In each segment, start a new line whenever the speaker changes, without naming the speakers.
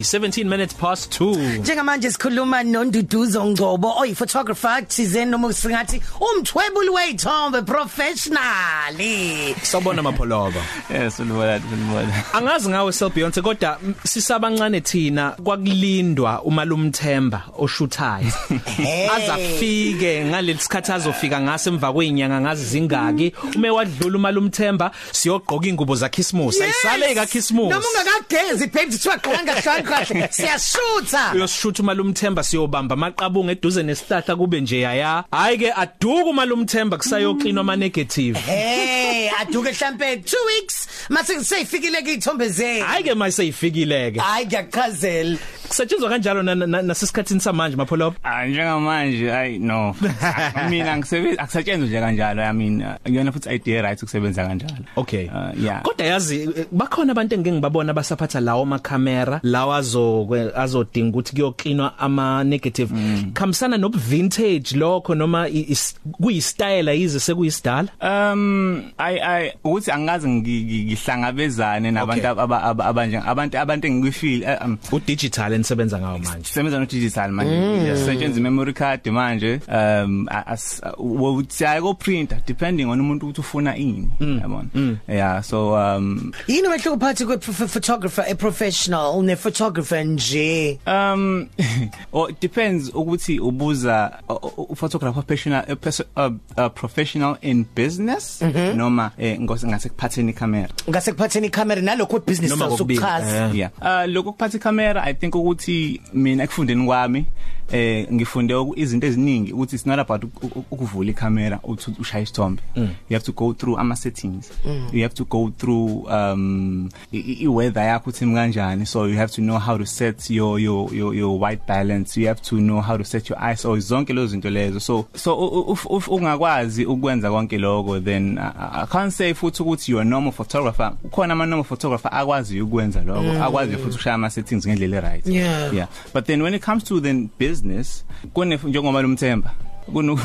17 minutes past 2
njengamanje sikhuluma nonduduzo Ngcobo oyiphotographer thizeni noma singathi umthwebuli weyithombe professional
sabona mapholoba
Yes, ulibona ulibona.
angazi ngawe self Beyonce kodwa mm, sisabancane thina kwakulindwa umalumthemba oshuthayo azafike ngalelisikhathi azofika ngase emva kwezinyanga ngazi zingaki ume wadlula umalumthemba siyogqoka ingubo za Christmas ayisale ka Christmas
noma ungakagezi baby kuthiwa gqoka ngahlani kahle siyashutha
uyoshutha umalumthemba siyobamba amaqabunga eduze nesihlahla kube nje yaya hayi ke aduka umalumthemba kusayoclinwa ama negative
hey aduke mhlambe 2 weeks mase seyifikile ke ithombe zethu
hayi ke mayiseyifikile ke
hayi ngiyachazela
kusetshenzwa kanjalo na- na- na- nasesikhathini samanje mapholoba
Ah njengamanje ay no. Mina ngisebenza akusetshenzwa nje kanjalo. I mean, uh, kuyona futhi idea right ukusebenza kanjalo.
Okay.
Uh, yeah.
Kodwa yazi eh, bakhona abantu engeke ngibabona basaphatha lawo ama camera lawa azokwe azodinga ukuthi kuyoclinwa ama negative. Khamsana nob vintage lokho noma kuyistyle yize sekuyisidala.
Um I I ukuthi angazi ngi- ngi- ngihlangabezane nabantu
Okay.
aba- aba- abanje abantu abantu engikufeel eh, um
U digital enisebenza ngawo manje.
sisebenza no digital
Mm.
manje sisebenza memory card manje um as wokuthi ayiko printer depending on umuntu ukuthi ufuna ini
Mm.
yabona yeah so um
yini wehluko phakathi kwe photographer a professional ne photographer nje
um or depends ukuthi ubuza uh, uh, photographer professional a, perso- a, a professional in business noma eh, ngos- ngase kuphatheni camera
ngase kuphatheni icamera nalokho business
Noma kokubili,
sokuchaza
eh.
yeah uh lokho kuphatha icamera i think ukuthi mina ekufundeni kwami eh ngifunde oku- izinto eziningi ukuthi it's not about uk- uk- ukuvula icamera uthi ushaya isithombe you have to go through ama settings you have to go through um i- i i- weather yakho uthi kanjani so you have to know how to set your your your, your white balance you have to know how to set your iso zonke lezo zinto lezo so so u- u- if if ungakwazi ukwenza konke lokho then I- I, i can't say futhi ukuthi you are a normal photographer ukhona ama normal photographer akwazi ukwenza lokho akwazi futhi ukushaya ama settings ngendlela e right
Yeah.
yeah but then when it comes to then business kune njengoba lomthemba kuno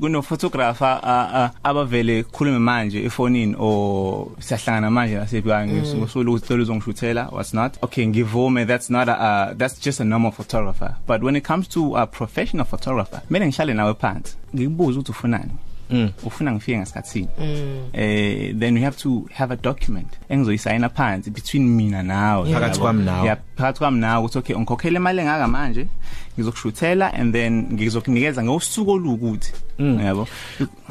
kuno photographer uh, uh, abavele khulume manje efonini or siyahlangana manje lasebuya ngisulu ukuthi uzongishuthela what's not okay ngivume that's not a, uh, that's just a normal photographer but when it comes to a professional photographer mina ngihlale nawe phansi ngikubuza ukuthi ufunani Mm. ufuna ngifike ngasikhathini mm. eh then we have to have a document engizoyisayina phansi between mina nawe
Phakathi
yabo.
kwami nawe.
yeah phakathi kwami nawe ukuthi okay ngikhokhele imali engaka manje ngizokushuthela and then ngizokunikeza ngosuku olukuthi yabo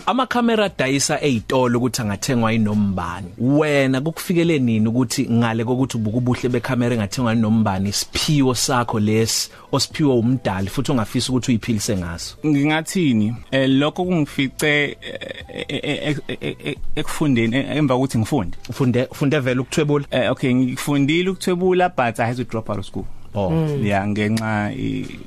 Ama camera dayisa ezitolo ukuthi angathengwa inombani. Wena kukufikele nini ukuthi ngale kokuthi ubuke ubuhle becamera engathengwa inombani isiphiwo sakho lesi osiphiwe umdali futhi ongafisa ukuthi uyiphilise ngaso.
ngingathini eh lokho kungifice eh, eh, eh, eh, eh, eh, ekufundeni eh, emva kokuthi ngifunde
ufunde ufunde vele ukuthwebula
eh okay ngifundile ukuthwebula but i had to drop out of school
oh
yeah ngenxa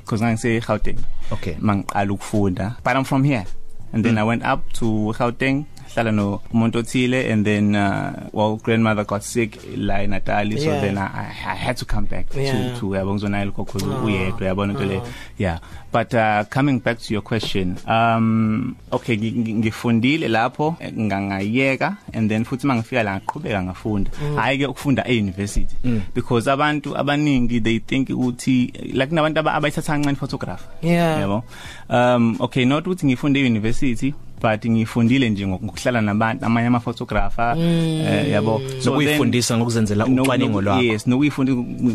because ngangise Gauteng
Okay.
mangiqala ukufunda but i'm from here and then mm. i went up to Gauteng hlala no umuntu othile and then uh, well grandmother got sick la in Natal so
Yeah.
then I, I had to come back
Yeah.
to to yabo ngizonayile kokho uyedwa yabona into le yeah but uh, coming back to your question um okay ngi- ngi- ngifundile lapho eh, ngangayeka and then futhi mangifika la ngaqhubeka ngafunda hayi ke ukufunda e-university because abantu abaningi they think ukuthi like nabantu aba- abayithatha kancane photographer
Yeah.
yabo um okay not ukuthi ngifunde e-university but ngifundile nje ngok- ngokuhlala nabantu amanye ama photographer eh, yabo then-
sokuyifundisa ngokuzenzela
no-
ucwaningo
no-
lwakho
yes nokuyifunda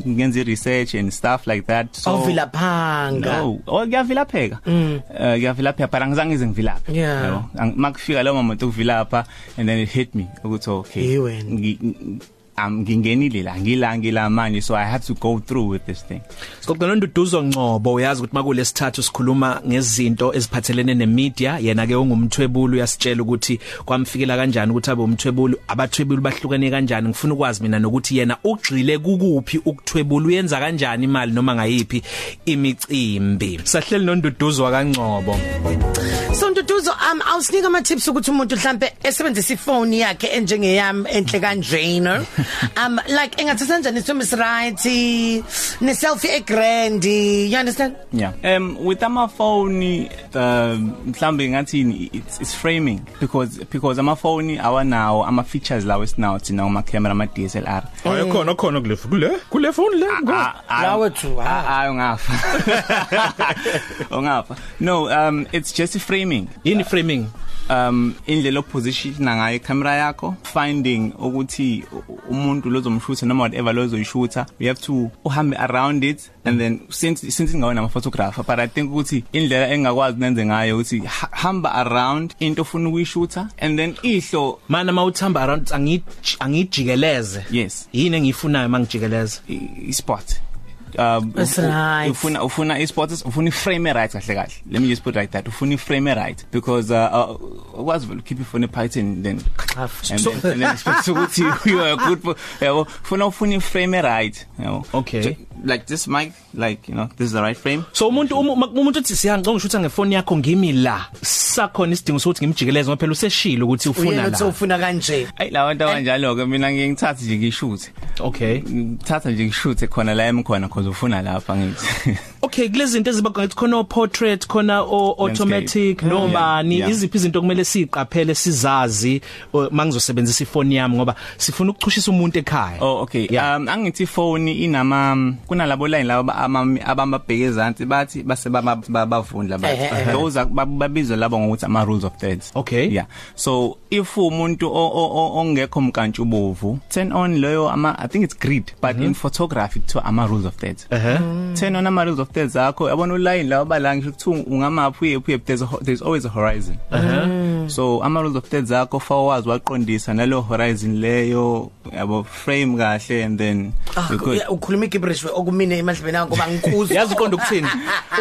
ngenze research and stuff like that so
ovila
Oh,
phanga
no oh ngiyavilapheka Eh, ngiyavilapheka but angizange ize ngivilaphe
Mm. Yeah.
yabo Ang- makufika lawo momento okuvilapha and then it hit me ukuthi okay
Hey wena.
ngi- ngi- am ngingenile la ngila ngila manje so i had to go through with this thing
Sokugcina unduduzo Ngcobo uyazi ukuthi makulesithathu sikhuluma ngezinto eziphathelene nemedia yena ke ungumthwebuli uyasitshela ukuthi kwamfikela kanjani ukuthi abe umthwebuli abathwebuli bahlukene kanjani ngifuna ukwazi mina nokuthi yena ugxile kukuphi ukuthwebula uyenza kanjani imali noma ngayiphi imicimbi sahleli nonduduzo kaNgcobo
so ntutuzo um awusinika ama tips ukuthi umuntu mhlambe esebenzisa ifoni yakhe enjengeyami enhle kanjena um like engathatha kanjani isithombe right ne selfie e grand you understand
Yeah. Um with amafoni the mhlambe ngathi it's it's framing because because amafoni awanawo ama features lawo esinawo thina uma camera ama DSLR.
hayi khona khona kule kule kule phone
Ah,
le ngo-
Lawo tu, ah.
Hayi ungafa. Ungafa. No, um it's just framing.
yini framing
um indlela opposition ngayo camera yakho finding ukuthi u- umuntu lozomshutha noma whatever lozoyishutha we have to uhambe around it and then since since ngawena ama photographer but i think ukuthi indlela engakwazi nenze ngayo ukuthi ha- hamba around into ofuna ukuyishutha and then ihlo
mana mawuthamba around angi angijikeleze
Yes.
yini engiyifunayo mangijikeleza
i- i-spot um
That's
ufu-
right.
ufuna ufuna i-sports ufuna i-frame right kahle kahle let me just put it like that ufuna i-frame right because uh, uh ukwazi vele keep ifone python then and then and then expect ukuthi you are good for yabo ufuna ufuna i-frame right yabo
Okay.
Ju- like this mic like you know this is the right frame
so umuntu uma- uma- umuntu uthi siyangicela ngishutha ngefoni yakho ngimi la sakhona isidingo sokuthi ngimjikeleze ngoba phela useshilo ukuthi Ah, ufuna
uyena uthi
la
ufuna kanje
ayi la bantu abanjalo ke mina ngiye ngithathe nje ngishuthe
okay
ngithatha nje ngishuthe khona la emkhona because ufuna lapha ngithi
okay kulezi zinto eziba khona ukuthi khona o portrait khona o automatic
Landscape.
nobani
Yeah, yeah.
iziphi izinto kumele siqaphele sizazi uh, mangizosebenzisa ifoni yami ngoba sifuna ukuchushisa umuntu ekhaya
Oh okay.
Yeah.
Um angithi phone inama um, kunalabo line laba ama- abamba bhekezanti bathi base baba- babavundla
Ehhe, ehhe.
bathi those are- bab- babizwa labo ngokuthi ama rules of thirds.
Okay.
Yeah. So if umuntu o- o- o- ongekho mkantshubovu turn on loyo ama I think it's grid but
Mhm.
in photography to ama rules of thirds.
ehe
Turn on ama rules of thirds akho yabona uline lawo bala ngisho ukuthi ungamaphi uyephi uyephi there's a ho- there's always a horizon. so ama rules of thirds akho fawazi waqondisa nalo horizon leyo yabo frame kahle and then
Ah,
we could-
uya- ukhuluma igibrishwe okumine emandlebeni akho ngoba ngikuzwa
yazi uqonda ukuthini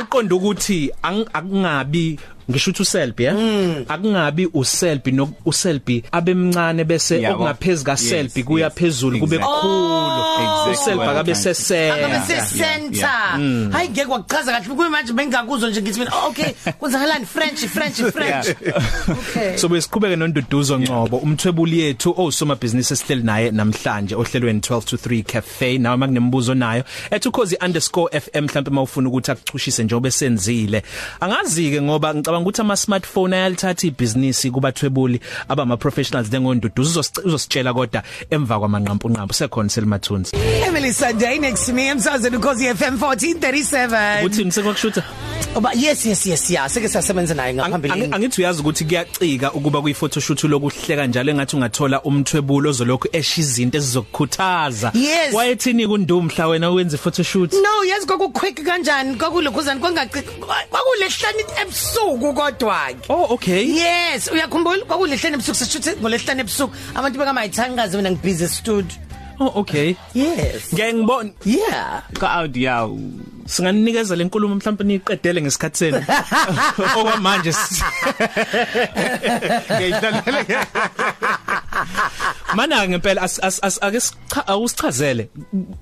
uqonda ukuthi ang- akungabi ngisho ukuthi uselfie
Hmm.
eh akungabi uselfie no uselfie abemncane bese
Yabo.
okungaphezulu ka
Yes,
selfie kuya
yes,
phezulu kube
exactly. Oh.
khulu
Exactly
uselfie
what I'm
akabe
trying to say.
sesela
Akabe se-center
yeah,
Mm.
hayi ngeke wachaza kahle kuyimanje bengingakuzwa nje ngithi mina oh, okay kwenzakalani french french french okay
so besiqhubeke nonduduzo Ngqobo umthwebuli yethu osomabhizinisi esihleli naye namhlanje ohlelweni 12 to 3 cafe nawe makunemibuzo nayo ethi ukhozi_fm mhlawumbe mawufuna ukuthi akuchushise njengoba esenzile angazi ke ngoba ngicabanga ukuthi ama smartphone ayalithatha ibhizinisi kubathwebuli abama professionals njengonduduzo Uzosic- uzositshela kodwa emva kwamanqampu nqampu sekhona selimathunzi
Emily Sunday next to me emsazweni ukhosi FM 1437
uthini sekwakushutha
Oba yes yes yes yeah sike sasebenza naye
Ang-
ngaphambili
ang- angithi uyazi ukuthi kuyacika ukuba kuyifotoshoot lokuhleka njalo engathi ungathola umthwebulo ozolokhu esha izinto ezizokukhuthaza
Yes. Mm.
wayethini kundumhla wena wenza photoshoot
No yes kwaku quick kanjani kwakulokhuzani kwangaqi kwakulehlani ebusuku kodwa ke
oh okay
Yes uyakhumbula kwakulehlani ebusuku sishuthe ngolehlani ebusuku abantu beka mayithangaze mina ngibhizi studio
oh okay
Yes
ngeke ngibone
yeah
ka audio
singaninikeza lenkulumo mhlawumbe niqedele ngesikhatsi senu okwamanje s-
ngiyidlalela
mana ngempela as- as- as- ake sicha- awusichazele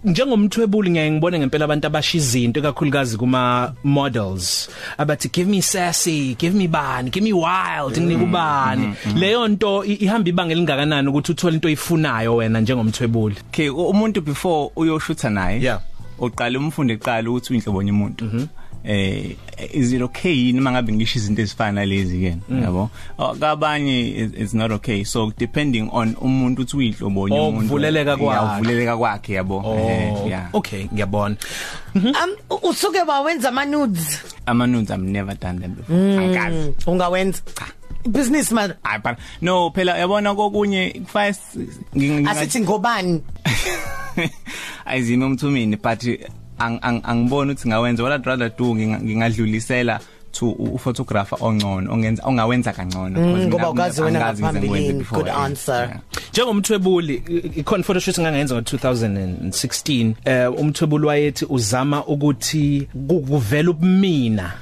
njengomthwebuli ngeke ngibone ngempela abantu abasha izinto kakhulukazi kuma models abathi give me sassy give me bani give me wild nginika ubani leyo nto i- ihamba ibanga elingakanani ukuthi uthole into oyifunayo wena njengomthwebuli
okay u- umuntu before uyoshutha naye
Yeah. Mm-hmm.
uqala umfundo eqala ukuthi uyinhlobo yomuntu eh is it okay yini mangabe ngisho izinto ezifana nalezi ke
Mm.
yabo Oh, kabanye it- it's not okay so depending on umuntu uthi uyinhlobo
Oh,
yomuntu
kuvuleleka kwakhe. Oh.
uvuleleka kwakhe yabo Eh, yeah
okay ngiyabona
um u- usuke bawenza ama nudes
ama nudes i've never done them before
Mm.
angikazi
ungawenza business man
Ay but no phela yabona kokunye kufanele
asithi ngobani
ayizime umthumini but ang- ang- angiboni ukuthi ngawenza what I'd rather do nginga- ngingadlulisela to u- uphotographer ongcono ongenza ongawenza kangcono because
Mm, ngoba
mina-
ukazi wena
angikaze ngize ngikwenze
ngaphambilini.
before,
Good
yeah.
answer.
Yeah.
njengomthwebuli ikhona photoshoot engangayenza ngo2016 eh umthwebuli wayethi uzama ukuthi ku- kuvela ubumina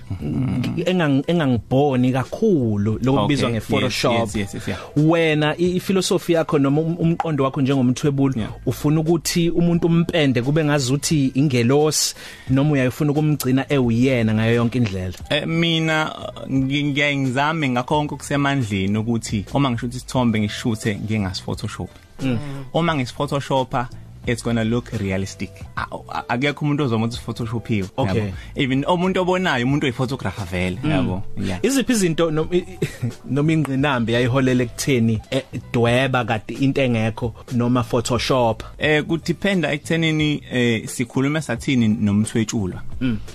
engang- engangiboni kakhulu lokubizwa
Okay, yes,
ngePhotoshop
yes, yes, yes, yeah.
wena i- iphilosophy yakho noma um- umqondo wakho njengomthwebuli
Yeah.
ufuna ukuthi umuntu umpende kube ngazuthi ingelosi noma uyayifuna ukumgcina ewuyena ngayo yonke indlela
Eh, mina uh, ngi- ngiyangizame ngakho konke kusemandleni ukuthi uma ngisho ukuthi isithombe ngishuthe ngingasiphotoshop Mm.
Mm.
uma ngisiphotoshopa it's going to look realistic A- a- akekho umuntu ozoba ukuthi photoshopiwe
Okay.
even umuntu obonayo umuntu oyiphotographer vele
Mm.
yabo yeah
Iziphi izinto nom- i- noma ingqinamba yayiholela ekutheni eh, dweba kade into engekho noma photoshop
eh kudependa ekuthenini eh sikhuluma sathini nomthwetshulwa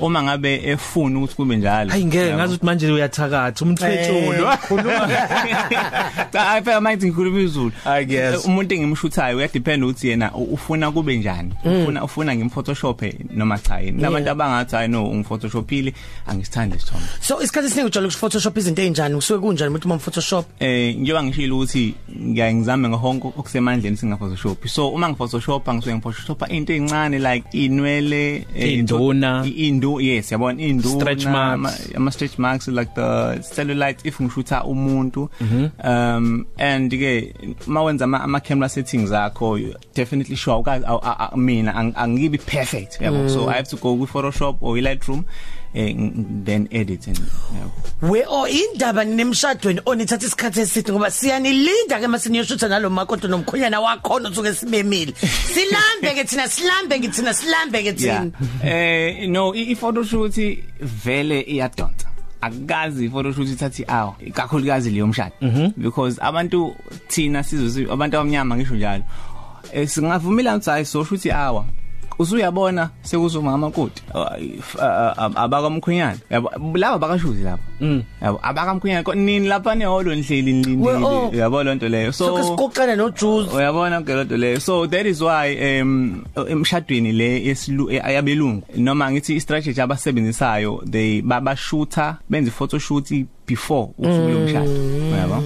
uma ngabe efuna ukuthi kube njalo
Mm. hayi ngeke
yabo.
ngazi ukuthi manje uyathakatha umthwetshulwa
cha phela manje ngikhuluma izulu Eh,
I guess.
umuntu engimshuthayo uyadepend ukuthi yena u- ufuna kube njani
Mm.
ufuna ufuna ngimphotoshope noma cha yini labantu abangathi hayi no ungiphotoshopile angisithandi isithombe
so isikhathi esiningi ujwayele ukuphotoshop izinto ezinjani usuke kunjani umuntu uma uphotoshop
eh njengoba ngishilo ukuthi ngiya ngizame ngehonke okusemandleni singaphotoshopi so uma ngiphotoshopa ngisuke ngiphotoshopa into encane like inwele eh,
Induna.
i- indu yes yabona induna
Stretch marks.
ama- ama stretch marks like the cellulite if ngishutha umuntu
Mhm.
um and ke mawenza ama ama camera settings akho you definitely sure ukazi aw- aw- aw- mina ang- angibi perfect yabo so i have to go with photoshop or lightroom eh ng- then edit and yabo
we o indaba nemshadweni onithatha isikhathi eside ngoba siyanilinda ke masiniyoshutha nalomakoto nomkhonyana wakho osuke sibemile silambe ke thina silambe ke thina silambe ke
yeah
thina
eh no i- i-photoshoot vele iyadonsa akukazi i-photoshoot ithathi hour kakhulukazi leyo
Mhm.
mshado because abantu thina sizo abantu abamnyama ngisho njalo eh, singavumelana ukuthi hayi soshuthi hour usuyabona sekuzomama kodi eh, abakamkhwenyana yabo laba bakashuzi lapha
Mm.
yabo abakamkhwenyana ko- nini lapha neholo nihleli
We- oh.
nilindile yabo lonto leyo
so ke siqoqana nojuice
uyabona ngelo leyo so that is why um emshadweni le yesilu ayabelungu noma ngithi istrategy abasebenzisayo they babashooter benze photoshoot before usuku lomshado uyabo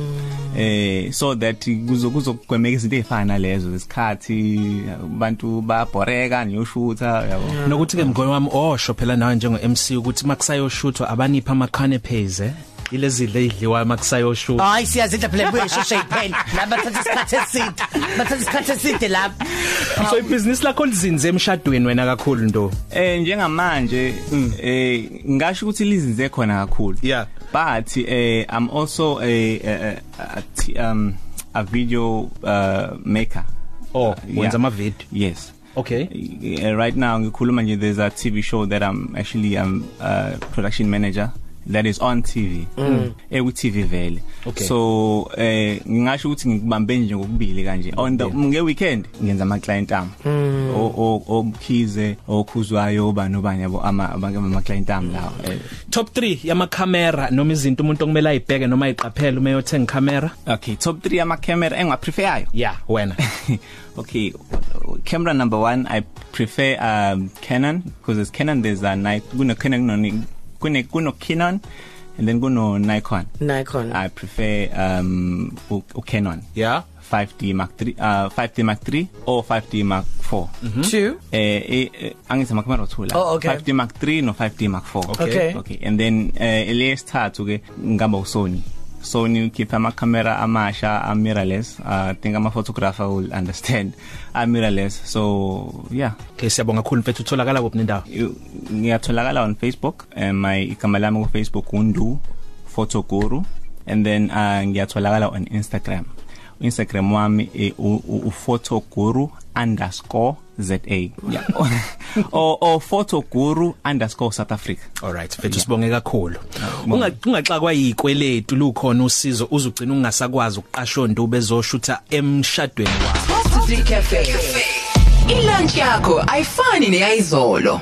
eh so that kuzo kuzogwemeka izinto ezifana nalezo lesikhathi abantu bayabhoreka niyoshooter yabo
nokuthi ke mgqono wami osho phela nawe njengo MC ukuthi makusayoshuthwa abanipha ama canapes eh ilezi leidliwa makusayoshuthwa
hayi siyazidla phela buye sheshe iphele laba thatha isikhathi eside bathatha isikhathi eside lapha
Ah, so ibusiness lakho lizinze emshadweni wena kakhulu ndo
eh njengamanje
Mm.
eh ngasho ukuthi lizinze khona kakhulu
Yeah.
but eh i'm also a, a, a, a um a video uh maker Uh,
oh
Yeah.
wenza ama video
yes
okay
Uh, right now ngikhuluma nje there's a TV show that I'm actually um uh production manager that is on Mm. TV eku TV Eh, vele
Mm. Okay.
so eh ngingasho ukuthi ngikubambe nje ngokubili kanje on the nge weekend ngenza ama client am
Mm.
o o- obukhize okhuzwayo obani obani yabo ama ama client am lawo
Mm.
eh,
top 3 yama camera noma izinto umuntu okumele ayibheke noma ayiqaphele uma yothenga camera
okay top 3 ama camera engiwapreferayo
yeah wena
okay camera number one i prefer um canon because there's canon there's a Nikon kuno canon kuno kuno kuno canon and then kuno nikon
Nikon
i prefer um u, u canon
yeah
5d mark 3 uh 5d mark 3 or 5d mark 4 mm-hmm.
two
eh eh, angithi ama camera two la
Oh, okay.
5d mark 3 no 5d mark 4
Okay.
okay and then eh lesithathu ke ngihamba u Sony Sony ukhipha ama camera amasha a mirrorless i think ama photographer will understand a mirrorless so yeah
okay siyabonga kakhulu mfethu utholakala kuphi nendawo
You- ngiyatholakala on Facebook eh my igama lami ku Facebook undu photoguru and then uh, ngiyatholakala on Instagram Instagram wami eh, u- u- u- photoguru_za yeah or or photoguru_south africa
Alright mfethu sibonge kakhulu. Unga- Ungaxakwa yikweletu lukhona usizo uzugcina ungasakwazi ukuqasha onto bezoshutha emshadweni wakho.
Positive Cafe. Ilunch yakho ayifani neyayizolo.